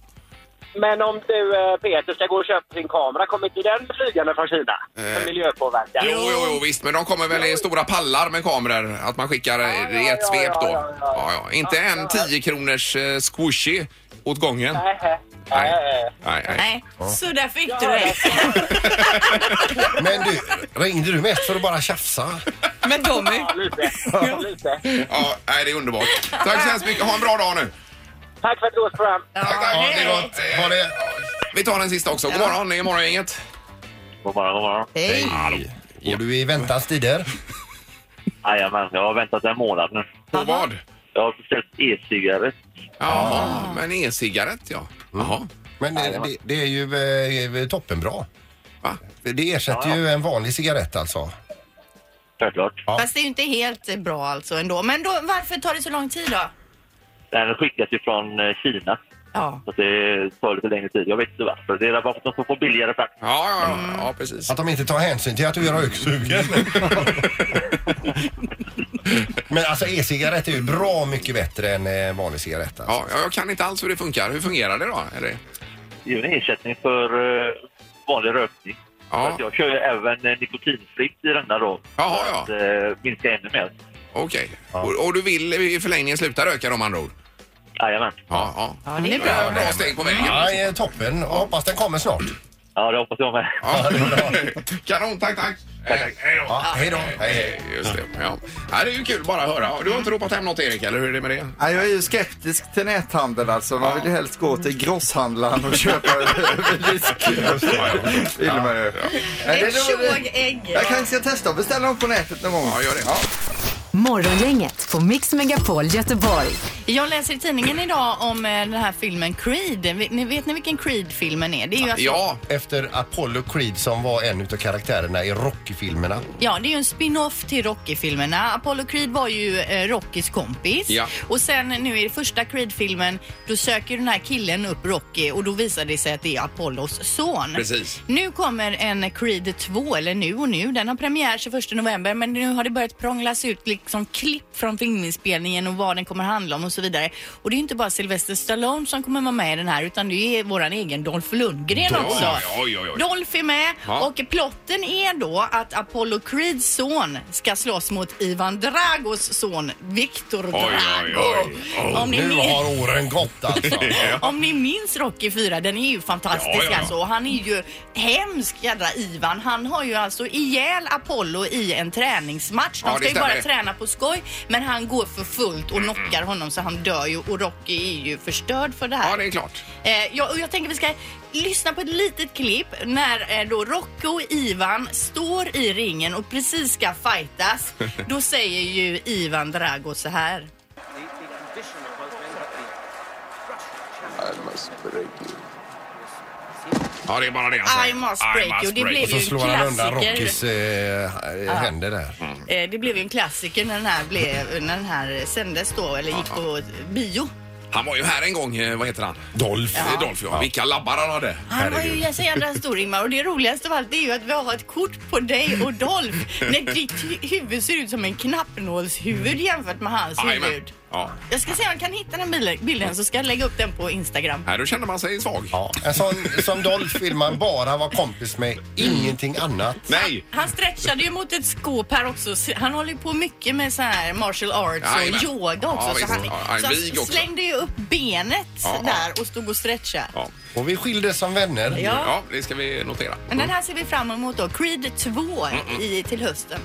[SPEAKER 10] Men om du eh, Peter ska gå och köpa sin kamera, kommer inte den flygande från Kina? För
[SPEAKER 1] Eh.
[SPEAKER 10] miljöpåverkan.
[SPEAKER 1] Jo, jo, jo, visst. Men de kommer väl i stora pallar med kameror? Att man skickar eh,
[SPEAKER 10] Ja,
[SPEAKER 1] i
[SPEAKER 10] ja,
[SPEAKER 1] ett
[SPEAKER 10] ja,
[SPEAKER 1] svep
[SPEAKER 10] ja,
[SPEAKER 1] då?
[SPEAKER 10] ja, ja.
[SPEAKER 1] Ja, ja. Inte
[SPEAKER 10] Ja,
[SPEAKER 1] en
[SPEAKER 10] ja.
[SPEAKER 1] 10 kronors eh, squishy åt gången?
[SPEAKER 10] Nej, nej,
[SPEAKER 1] Nej.
[SPEAKER 10] nej.
[SPEAKER 1] Nej, nej.
[SPEAKER 2] Nej, så där fick du
[SPEAKER 10] Ja,
[SPEAKER 2] det.
[SPEAKER 5] Men du, ringde du mest för att bara tjafsa?
[SPEAKER 7] Men Tommy,
[SPEAKER 10] Ja, lite. Ja, lite.
[SPEAKER 1] Ja, nej, det är underbart. Tack så hemskt mycket. Ha en bra dag nu.
[SPEAKER 10] Tack för ett roligt program.
[SPEAKER 1] Tack, tack.
[SPEAKER 5] Ja, det är gott. Ha det.
[SPEAKER 1] Vi tar den sista också. God morgon, det är morgongänget.
[SPEAKER 9] God morgon, god morgon.
[SPEAKER 5] Hej. Och du är i väntans tider?
[SPEAKER 9] Jajamän, jag har väntat en månad nu.
[SPEAKER 1] På vad?
[SPEAKER 9] Jag har beställt e-cigaretter.
[SPEAKER 11] Ah.
[SPEAKER 1] Ja, men e-cigarett ja. Jaha.
[SPEAKER 5] Men det, det, det är ju eh, toppenbra.
[SPEAKER 1] Va?
[SPEAKER 5] Det ersätter ju en vanlig cigarett alltså.
[SPEAKER 9] Självklart.
[SPEAKER 2] Fast det är ju inte helt bra alltså ändå. Men då, varför tar det så lång tid då?
[SPEAKER 11] Den skickas ju från eh, Kina.
[SPEAKER 2] Ja.
[SPEAKER 11] Så att det tar lite längre tid. Jag vet inte varför. Det är bara för att de får billigare frakt.
[SPEAKER 1] Ja, ja, ja,
[SPEAKER 11] Mm.
[SPEAKER 1] ja precis.
[SPEAKER 5] Att de inte tar hänsyn till att du är röksugen. [LAUGHS] Men alltså e-cigarett är ju bra mycket bättre än eh, vanlig cigarett. Alltså.
[SPEAKER 1] Ja, ja, jag kan inte alls hur det funkar. Hur fungerar det då? Är det...
[SPEAKER 11] Det är ju en ersättning för eh, vanlig rökning. Så att jag kör ju även eh, nikotinfritt i denna då.
[SPEAKER 1] Jaha,
[SPEAKER 11] för att eh, minska ännu mer.
[SPEAKER 1] Okej. Och, och du vill i förlängningen sluta röka om andra ord?
[SPEAKER 11] Jajamän.
[SPEAKER 1] Ja, ja.
[SPEAKER 2] Ja, det är
[SPEAKER 1] Ja,
[SPEAKER 2] bra.
[SPEAKER 1] Bra steg på vägen.
[SPEAKER 5] Ja, eh, toppen. Jag hoppas den kommer snart.
[SPEAKER 11] Ja, det hoppas jag med.
[SPEAKER 1] Ja. [LAUGHS] Kanon, tack, tack. Eh, Hej då.
[SPEAKER 5] Ja, hej då. Hej, hej.
[SPEAKER 1] Eh, Just det. Ja. Ja, det är ju kul bara att höra. Du har inte ropat hem något Erik, eller hur är det med det?
[SPEAKER 2] Alltså-
[SPEAKER 3] Ja, jag är ju skeptisk till näthandel alltså. Man vill ju helst gå till grosshandlaren och köpa [LAUGHS] överdisk. Vill man ju. Ja, det är-
[SPEAKER 2] Ett tjogägg.
[SPEAKER 3] Jag kanske ska testa att beställa dem på nätet någon gång.
[SPEAKER 1] Ja, gör det.
[SPEAKER 4] Morgongänget på Mix Megapol Göteborg.
[SPEAKER 2] Jag läser i tidningen idag om eh, den här filmen Creed. Vet ni, vet ni vilken Creed-filmen är? Det är ju alltså,
[SPEAKER 1] Ja,
[SPEAKER 5] Efter Apollo Creed som var en utav karaktärerna i Rocky-filmerna.
[SPEAKER 2] Ja, det är ju en spin-off till Rocky-filmerna. Apollo Creed var ju eh, Rockys kompis.
[SPEAKER 1] Ja.
[SPEAKER 2] Och sen nu i den första Creed-filmen, då söker den här killen upp Rocky och då visar det sig att det är Apollos son.
[SPEAKER 1] Precis.
[SPEAKER 2] Nu kommer en Creed 2, eller nu och nu. Den har premiär 21 november men nu har det börjat prånglas ut liksom klipp från filminspelningen och vad den kommer handla om och så vidare. Och det är ju inte bara Sylvester Stallone som kommer vara med i den här utan det är våran egen Dolph Lundgren
[SPEAKER 1] Dolph,
[SPEAKER 2] också.
[SPEAKER 1] oj, oj, oj.
[SPEAKER 2] Dolph är med
[SPEAKER 1] Ja.
[SPEAKER 2] och plotten är då att Apollo Creeds son ska slåss mot Ivan Dragos son Viktor Drago.
[SPEAKER 1] oj, oj. Oj,
[SPEAKER 2] Om, ni
[SPEAKER 5] Nu
[SPEAKER 2] minns,
[SPEAKER 5] har åren gått alltså.
[SPEAKER 2] [LAUGHS] om ni minns Rocky 4, den är ju fantastisk
[SPEAKER 1] Ja, ja, ja.
[SPEAKER 2] alltså. Och han är ju hemsk jädra Ivan. Han har ju alltså ihjäl Apollo i en träningsmatch. De
[SPEAKER 1] Ja, det
[SPEAKER 2] ska ju
[SPEAKER 1] stämmer.
[SPEAKER 2] bara träna på skoj men han går för fullt och knockar honom så han dör ju och Rocky är ju förstörd för det här.
[SPEAKER 1] Ja, det är klart.
[SPEAKER 2] Eh, jag, och jag tänker vi ska lyssna på ett litet klipp när eh, då Rocco och Ivan står i ringen och precis ska
[SPEAKER 1] [LAUGHS]
[SPEAKER 2] fightas. Då säger ju Ivan Drago så här.
[SPEAKER 1] Ja, det är bara det han
[SPEAKER 2] I must break you. Det
[SPEAKER 5] Och
[SPEAKER 2] blev
[SPEAKER 5] så
[SPEAKER 2] ju
[SPEAKER 5] slår
[SPEAKER 2] en
[SPEAKER 5] han undan
[SPEAKER 2] klassiker.
[SPEAKER 5] Rockys eh, händer där.
[SPEAKER 2] Eh, det blev ju en klassiker när den här, blev, när den här sändes då, eller gick på bio.
[SPEAKER 1] Han var ju här en gång, eh, vad heter han?
[SPEAKER 5] Dolph.
[SPEAKER 1] Ja. Dolph, ja. Vilka labbar han hade.
[SPEAKER 2] Han var ju så jädra stor Ingmar och det roligaste av allt det är ju att vi har ett kort på dig och Dolph när ditt hu- huvud ser ut som en knappnålshuvud jämfört med hans
[SPEAKER 1] Jajamän.
[SPEAKER 2] huvud.
[SPEAKER 1] Ja.
[SPEAKER 2] Jag ska se om jag kan hitta den bilden- bilden så ska jag lägga upp den på Instagram.
[SPEAKER 1] Nej, då kände man sig svag.
[SPEAKER 5] Ja. En sån som Dolph vill man bara vara kompis med, ingenting annat.
[SPEAKER 1] Nej!
[SPEAKER 2] Han stretchade ju mot ett skåp här också. Så Han håller ju på mycket med så här martial arts
[SPEAKER 1] Jajamän.
[SPEAKER 2] och yoga också.
[SPEAKER 1] Ja,
[SPEAKER 2] så
[SPEAKER 1] visst.
[SPEAKER 2] han,
[SPEAKER 1] Ja, han
[SPEAKER 2] så han
[SPEAKER 1] vig också.
[SPEAKER 2] slängde ju upp benet
[SPEAKER 1] Ja, ja.
[SPEAKER 2] där och stod och stretchade.
[SPEAKER 1] Ja.
[SPEAKER 5] Och vi skildes som vänner.
[SPEAKER 2] Ja.
[SPEAKER 1] ja, det ska vi notera.
[SPEAKER 2] Men den här ser vi fram emot då. Creed 2 i, till hösten.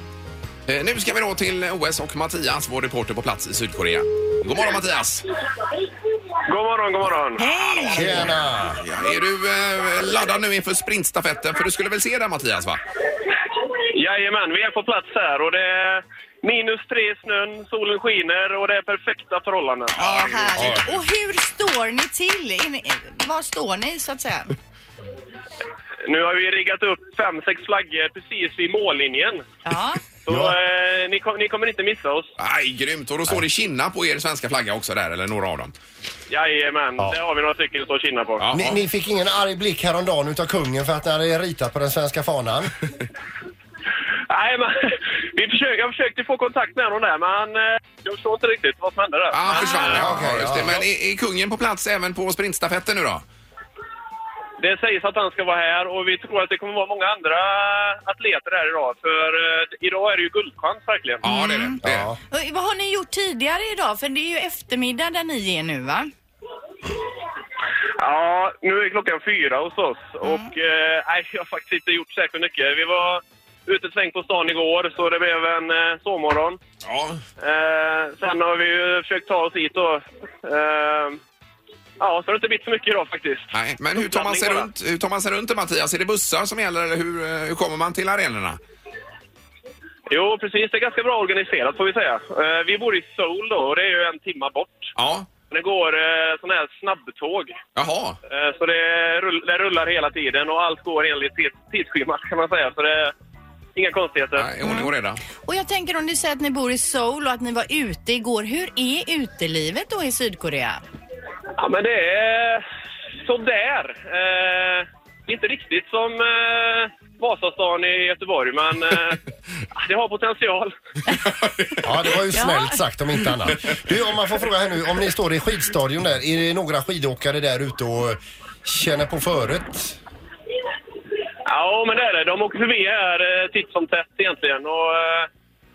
[SPEAKER 1] Eh, Nu ska vi då till OS och Mattias, vår reporter på plats i Sydkorea. God morgon Mattias!
[SPEAKER 9] God morgon, god morgon.
[SPEAKER 5] Mm.
[SPEAKER 2] Hej!
[SPEAKER 5] Tjena!
[SPEAKER 1] Ja, är du eh, laddad nu inför sprintstafetten? För du skulle väl se den Mattias, va?
[SPEAKER 9] Jajamän, vi är på plats här och det är minus tre i snön, solen skiner och det är perfekta förhållanden.
[SPEAKER 2] Ja, härligt. Och hur står ni till? Är ni, var står ni så att säga?
[SPEAKER 9] Nu har vi riggat upp fem, sex flaggor precis vid mållinjen.
[SPEAKER 2] Ja.
[SPEAKER 9] Så eh, ni, kom, ni kommer inte missa oss.
[SPEAKER 1] Nej, grymt! Och då står det Kina på er svenska flagga också där, eller några av dem.
[SPEAKER 9] Jajamän, det har vi några stycken som står och kinnar på.
[SPEAKER 1] Ja,
[SPEAKER 5] Ni,
[SPEAKER 1] ja.
[SPEAKER 5] ni fick ingen arg blick häromdagen utav kungen för att ni hade ritat på den svenska fanan?
[SPEAKER 9] Nej, men, [LAUGHS] vi försöker, jag försökte få kontakt med honom där, men han, eh, jag förstår inte riktigt vad som hände där.
[SPEAKER 1] Ah, försvann. Ja,
[SPEAKER 5] okej,
[SPEAKER 1] just det.
[SPEAKER 5] ja.
[SPEAKER 1] Men är, är kungen på plats även på sprintstafetten nu då?
[SPEAKER 9] Det sägs att han ska vara här och vi tror att det kommer vara många andra atleter här idag. För eh, idag är det ju guldchans verkligen.
[SPEAKER 1] Ja, det är det. det, är det.
[SPEAKER 5] Ja.
[SPEAKER 2] Och Vad har ni gjort tidigare idag? För det är ju eftermiddag där ni är nu va?
[SPEAKER 9] Ja, nu är klockan fyra hos oss och eh, nej, jag har faktiskt inte gjort särskilt mycket. Vi var ute ett sväng på stan igår så det blev en eh, sovmorgon.
[SPEAKER 1] Ja.
[SPEAKER 9] Eh, sen har vi ju försökt ta oss hit då. Eh, ja, så det har inte blivit så mycket idag faktiskt.
[SPEAKER 1] Nej, men hur tar, man sig
[SPEAKER 9] Uppsamling
[SPEAKER 1] runt, hur tar man sig runt det Mattias? Är det bussar som gäller eller hur, eh, hur kommer man till arenorna?
[SPEAKER 9] Jo, precis. Det är ganska bra organiserat får vi säga. Eh, vi bor i Seoul då och det är ju en timma bort.
[SPEAKER 1] Ja,
[SPEAKER 9] Det går eh, sån här snabbtåg.
[SPEAKER 1] jaha.
[SPEAKER 9] Eh, Så det, rull, det rullar hela tiden och allt går enligt tids- tidsschemat kan man säga. Så det, Inga konstigheter.
[SPEAKER 1] Nej, ordning och reda.
[SPEAKER 2] Och jag tänker om du säger att ni bor i Seoul och att ni var ute igår. Hur är utelivet då i Sydkorea?
[SPEAKER 9] Ja, men det är sådär. Eh, inte riktigt som eh, Vasastan i Göteborg, men
[SPEAKER 1] [LAUGHS]
[SPEAKER 9] eh, det har potential.
[SPEAKER 5] Ja,
[SPEAKER 2] [LAUGHS]
[SPEAKER 5] det var ju snällt sagt om inte annat. Du, om man får fråga här nu, om ni står i skidstadion där, är det några skidåkare där ute och känner på föret?
[SPEAKER 9] Ja, men det är det. De åker förbi här eh, titt som tätt egentligen. Och, eh,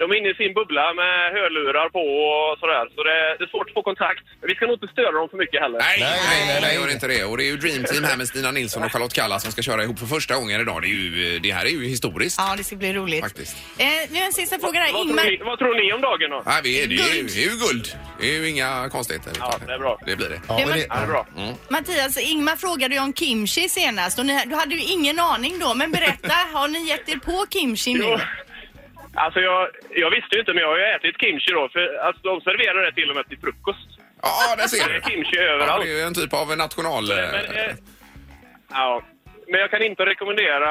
[SPEAKER 9] de är inne i sin bubbla med hörlurar på och sådär. Så det, det är svårt att få kontakt. Men vi ska nog inte störa dem för mycket heller.
[SPEAKER 1] Nej, nej, nej, nej, gör inte det. Och det är ju Dream Team här med Stina Nilsson och Charlotte Kalla som ska köra ihop för första gången idag. Det, är ju, eh, det här är ju historiskt
[SPEAKER 2] Ja, det ska bli roligt.
[SPEAKER 1] faktiskt.
[SPEAKER 2] Eh, nu en sista fråga
[SPEAKER 9] Vad
[SPEAKER 2] där.
[SPEAKER 9] tror
[SPEAKER 2] Ingmar,
[SPEAKER 9] ni- Vad tror ni om dagen då?
[SPEAKER 1] Nej, vi är, det, är ju, det är ju guld. Det är ju inga konstigheter. Ja, det är bra. Det blir det.
[SPEAKER 2] Ja, men- Ja, det är
[SPEAKER 1] bra.
[SPEAKER 2] Mattias, Ingmar frågade ju om kimchi senast och ni, du hade ju ingen aning då. Men berätta, har ni gett er på kimchi nu?
[SPEAKER 9] Alltså jag, jag visste ju inte, men jag har ju ätit kimchi då. För alltså, de serverar det till och med till frukost.
[SPEAKER 1] Ja, där ser du.
[SPEAKER 9] Det är kimchi överallt.
[SPEAKER 1] det är ju en typ av national... [LAUGHS]
[SPEAKER 9] eh, Ja. Men jag kan inte rekommendera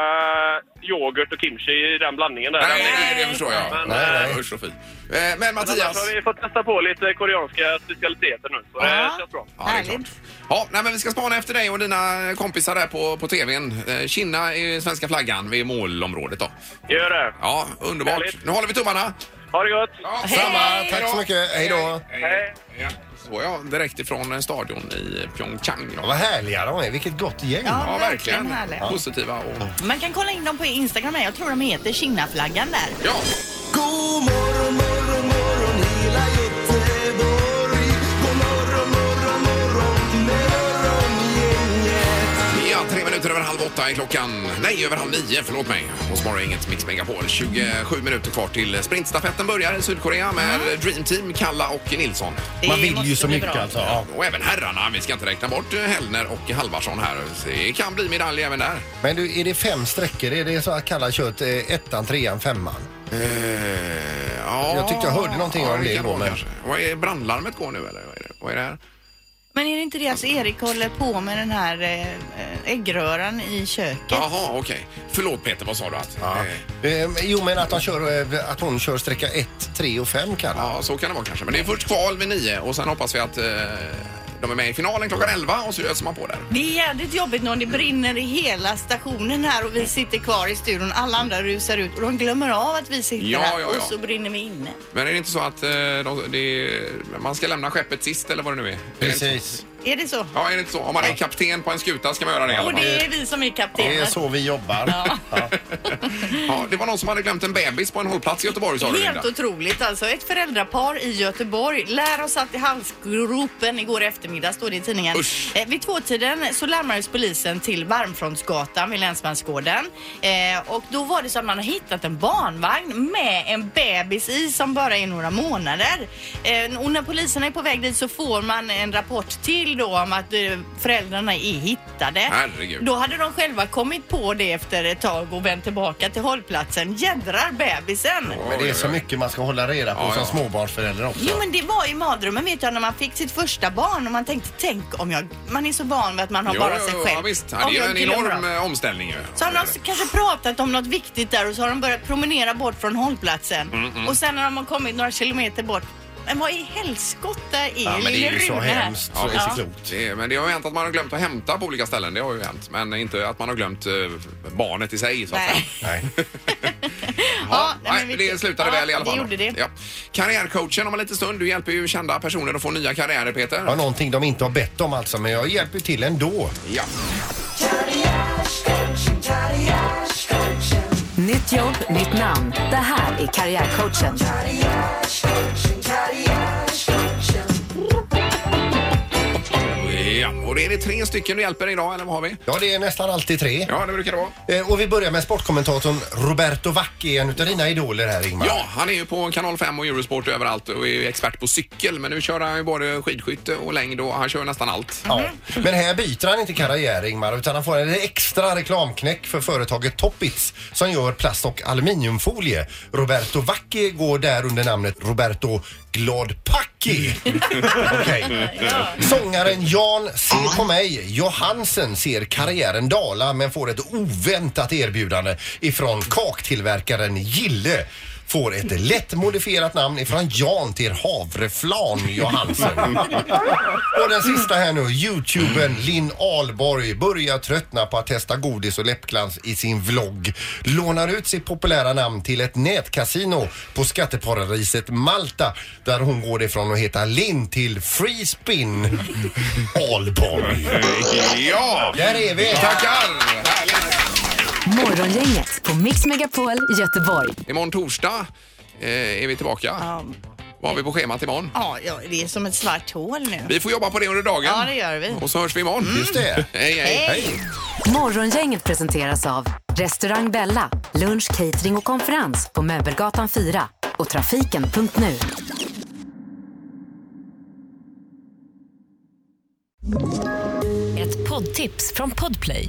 [SPEAKER 9] yoghurt och kimchi i den blandningen där. eh,
[SPEAKER 1] Nej, nej, det förstår jag.
[SPEAKER 9] Men,
[SPEAKER 1] Nej,
[SPEAKER 9] eh,
[SPEAKER 1] nej. Usch, så fint. Eh, Men
[SPEAKER 9] annars
[SPEAKER 1] Mattias...
[SPEAKER 9] har vi fått testa på lite koreanska specialiteter nu, så det känns bra.
[SPEAKER 1] Ja, det är klart. Ja, nej, men vi ska spana efter dig och dina kompisar där på, på tvn. Eh, Kinna i svenska flaggan vid målområdet då.
[SPEAKER 9] Gör det.
[SPEAKER 1] Ja, underbart. Nu håller vi tummarna.
[SPEAKER 9] Ha det gott.
[SPEAKER 5] Samma, tack så mycket. Hej då.
[SPEAKER 1] Hej. Ja. Så ja, direkt ifrån eh, stadion i Pyeongchang. då.
[SPEAKER 5] Vad härliga de är, vilket gott gäng.
[SPEAKER 2] Ja,
[SPEAKER 1] Ja,
[SPEAKER 2] verkligen
[SPEAKER 1] verkligen.
[SPEAKER 2] härliga.
[SPEAKER 1] Positiva och...
[SPEAKER 2] Man kan kolla in dem på Instagram här. Jag tror de heter Kinnaflaggan där.
[SPEAKER 1] Ja.
[SPEAKER 12] God morgon, morgon, morgon hela Göteborg. God morgon, morgon, morgon morgongänget.
[SPEAKER 1] Ja, tre minuter över halv åtta är klockan. Nej, över halv nio, förlåt mig. Hos Morgongänget Mix Megapol. 27 minuter kvar till sprintstafetten börjar i Sydkorea med Dream Team, Kalla och Nilsson.
[SPEAKER 5] Det Man vill ju måste så bli mycket bra. alltså, ja.
[SPEAKER 1] Och även herrarna. Vi ska inte räkna bort eh, Hellner och Halvarsson här. Det kan bli medalj även där.
[SPEAKER 5] Men du, är det fem sträckor? Är det så att kalla kött eh, ettan, trean, femman?
[SPEAKER 1] Eh, ja.
[SPEAKER 5] Jag tyckte jag hörde någonting
[SPEAKER 1] Ja,
[SPEAKER 5] om
[SPEAKER 1] kan
[SPEAKER 5] det igår.
[SPEAKER 1] vara
[SPEAKER 5] Men...
[SPEAKER 1] kanske. Vad är brandlarmet går nu eller? Vad är det, vad är det här?
[SPEAKER 2] Men är det inte det att Erik håller på med den här eh, äggröran i köket?
[SPEAKER 1] Jaha, okej. Förlåt Peter, vad sa du? Att, ja.
[SPEAKER 5] Eh, jo, men att, de kör, eh, att hon kör sträcka 1, 3 och 5 kalla.
[SPEAKER 1] ja, så kan det vara kanske. Men det är först kval vid nio och sen hoppas vi att eh, de är med i finalen klockan elva och så öser man på där.
[SPEAKER 2] Det är jädrigt jobbigt när det brinner i hela stationen här och vi sitter kvar i studion. Alla andra rusar ut och de glömmer av att vi sitter
[SPEAKER 1] Ja,
[SPEAKER 2] här
[SPEAKER 1] ja,
[SPEAKER 2] och
[SPEAKER 1] ja.
[SPEAKER 2] så brinner vi inne.
[SPEAKER 1] Men är det inte så att eh, de, det är, man ska lämna skeppet sist eller vad det nu är?
[SPEAKER 5] Precis.
[SPEAKER 2] Är det så?
[SPEAKER 1] Ja, är det inte så? Om man är kapten på en skuta ska man göra det i alla
[SPEAKER 2] Och
[SPEAKER 1] fall.
[SPEAKER 2] det är vi som är kaptener.
[SPEAKER 5] vi jobbar.
[SPEAKER 2] Ja.
[SPEAKER 1] Ja, det var någon som hade glömt en bebis på en hållplats i Göteborg sa du
[SPEAKER 2] Helt
[SPEAKER 1] Linda.
[SPEAKER 2] otroligt alltså. Ett föräldrapar i Göteborg lär ha satt i halsgropen igår eftermiddag, står det i tidningen. Eh, vid tvåtiden så larmades polisen till Varmfrontsgatan vid Länsmansgården. Eh, och då var det så att man har hittat en barnvagn med en bebis i som bara är några månader. Eh, och när polisen är på väg dit så får man en rapport till då om att eh, föräldrarna är hittade.
[SPEAKER 1] Herregud.
[SPEAKER 2] Då hade de själva kommit på det efter ett tag och vänt tillbaka till hållplatsen. Jädrar bebisen!
[SPEAKER 5] Men det är så mycket man ska hålla reda på som småbarnsförälder också.
[SPEAKER 2] Jo men det var i madrummen vet jag när man fick sitt första barn och man tänkte tänk om jag, man är så van vid att man har
[SPEAKER 1] Jo,
[SPEAKER 2] bara sig
[SPEAKER 1] jo,
[SPEAKER 2] själv.
[SPEAKER 1] Ja, visst. Ja,
[SPEAKER 2] Om
[SPEAKER 1] det är ju
[SPEAKER 2] jag
[SPEAKER 1] en
[SPEAKER 2] glömmer
[SPEAKER 1] enorm
[SPEAKER 2] dem.
[SPEAKER 1] eh, omställning ju.
[SPEAKER 2] Så har de s- kanske pratat om något viktigt där och så har de börjat promenera bort från hållplatsen.
[SPEAKER 1] Mm, mm.
[SPEAKER 2] Och sen när de har kommit några kilometer bort, men vad i helskotta är Lille Rune här?
[SPEAKER 1] Ja,
[SPEAKER 2] Ja.
[SPEAKER 1] visst. Det är- Men det har ju hänt att man har glömt att hämta på olika ställen. Det har ju hänt. Men inte att man har glömt eh, barnet i sig. Så att
[SPEAKER 2] Nej.
[SPEAKER 1] säga. ja, nej, det slutade väl i alla
[SPEAKER 2] det
[SPEAKER 1] fall.
[SPEAKER 2] gjorde det.
[SPEAKER 1] Ja. Karriärcoachen om en liten stund. Du hjälper ju kända personer att få nya karriärer, Peter.
[SPEAKER 5] Ja, någonting de inte har bett om alltså, men jag hjälper till ändå.
[SPEAKER 1] Ja.
[SPEAKER 4] Nytt jobb, nytt namn. Det här är Karriärcoachen.
[SPEAKER 1] Ja, och det är det tre stycken du hjälper idag, eller vad har vi?
[SPEAKER 5] Ja, det är nästan alltid tre.
[SPEAKER 1] Ja, det brukar det vara.
[SPEAKER 5] Eh, Och vi börjar med sportkommentatorn Roberto Vacchi, en utav dina idoler här Ingmar.
[SPEAKER 1] Ja, han är ju på Kanal 5 och Eurosport och överallt och är ju expert på cykel. Men nu kör han ju både skidskytte och längd och han kör ju nästan allt.
[SPEAKER 5] Ja. Men här byter han inte karriär Ingmar utan han får en extra reklamknäck för företaget Toppits som gör plast och aluminiumfolie. Roberto Vacchi går där under namnet Roberto glad Packi. Okej. Sångaren Jan, se på mig. Johansen ser karriären dala men får ett oväntat erbjudande ifrån kaktillverkaren Gille. Får ett lätt modifierat namn ifrån Jan till Havreflan Johansen. Och den sista här nu, youtubern Linn Ahlborg börjar tröttna på att testa godis och läppglans i sin vlogg. Lånar ut sitt populära namn till ett nätkasino på skatteparadiset Malta där hon går ifrån att heta Linn till Free Spin [LAUGHS] Ahlborg.
[SPEAKER 1] Ja!
[SPEAKER 5] Där är vi!
[SPEAKER 1] Tackar!
[SPEAKER 4] Morgongänget på Mix Megapol Göteborg.
[SPEAKER 1] Imorgon torsdag eh, är vi tillbaka. Vad har vi på schemat imorgon?
[SPEAKER 2] Ja, ja, det är som ett svart hål nu.
[SPEAKER 1] Vi får jobba på det under dagen.
[SPEAKER 2] Ja, det gör vi.
[SPEAKER 1] Och så hörs vi imorgon. Just det. Hej, hej.
[SPEAKER 4] Hej. Morgongänget presenteras av Restaurang Bella, lunch, catering och konferens på Möbelgatan 4 och trafiken.nu.
[SPEAKER 13] Ett poddtips från Podplay.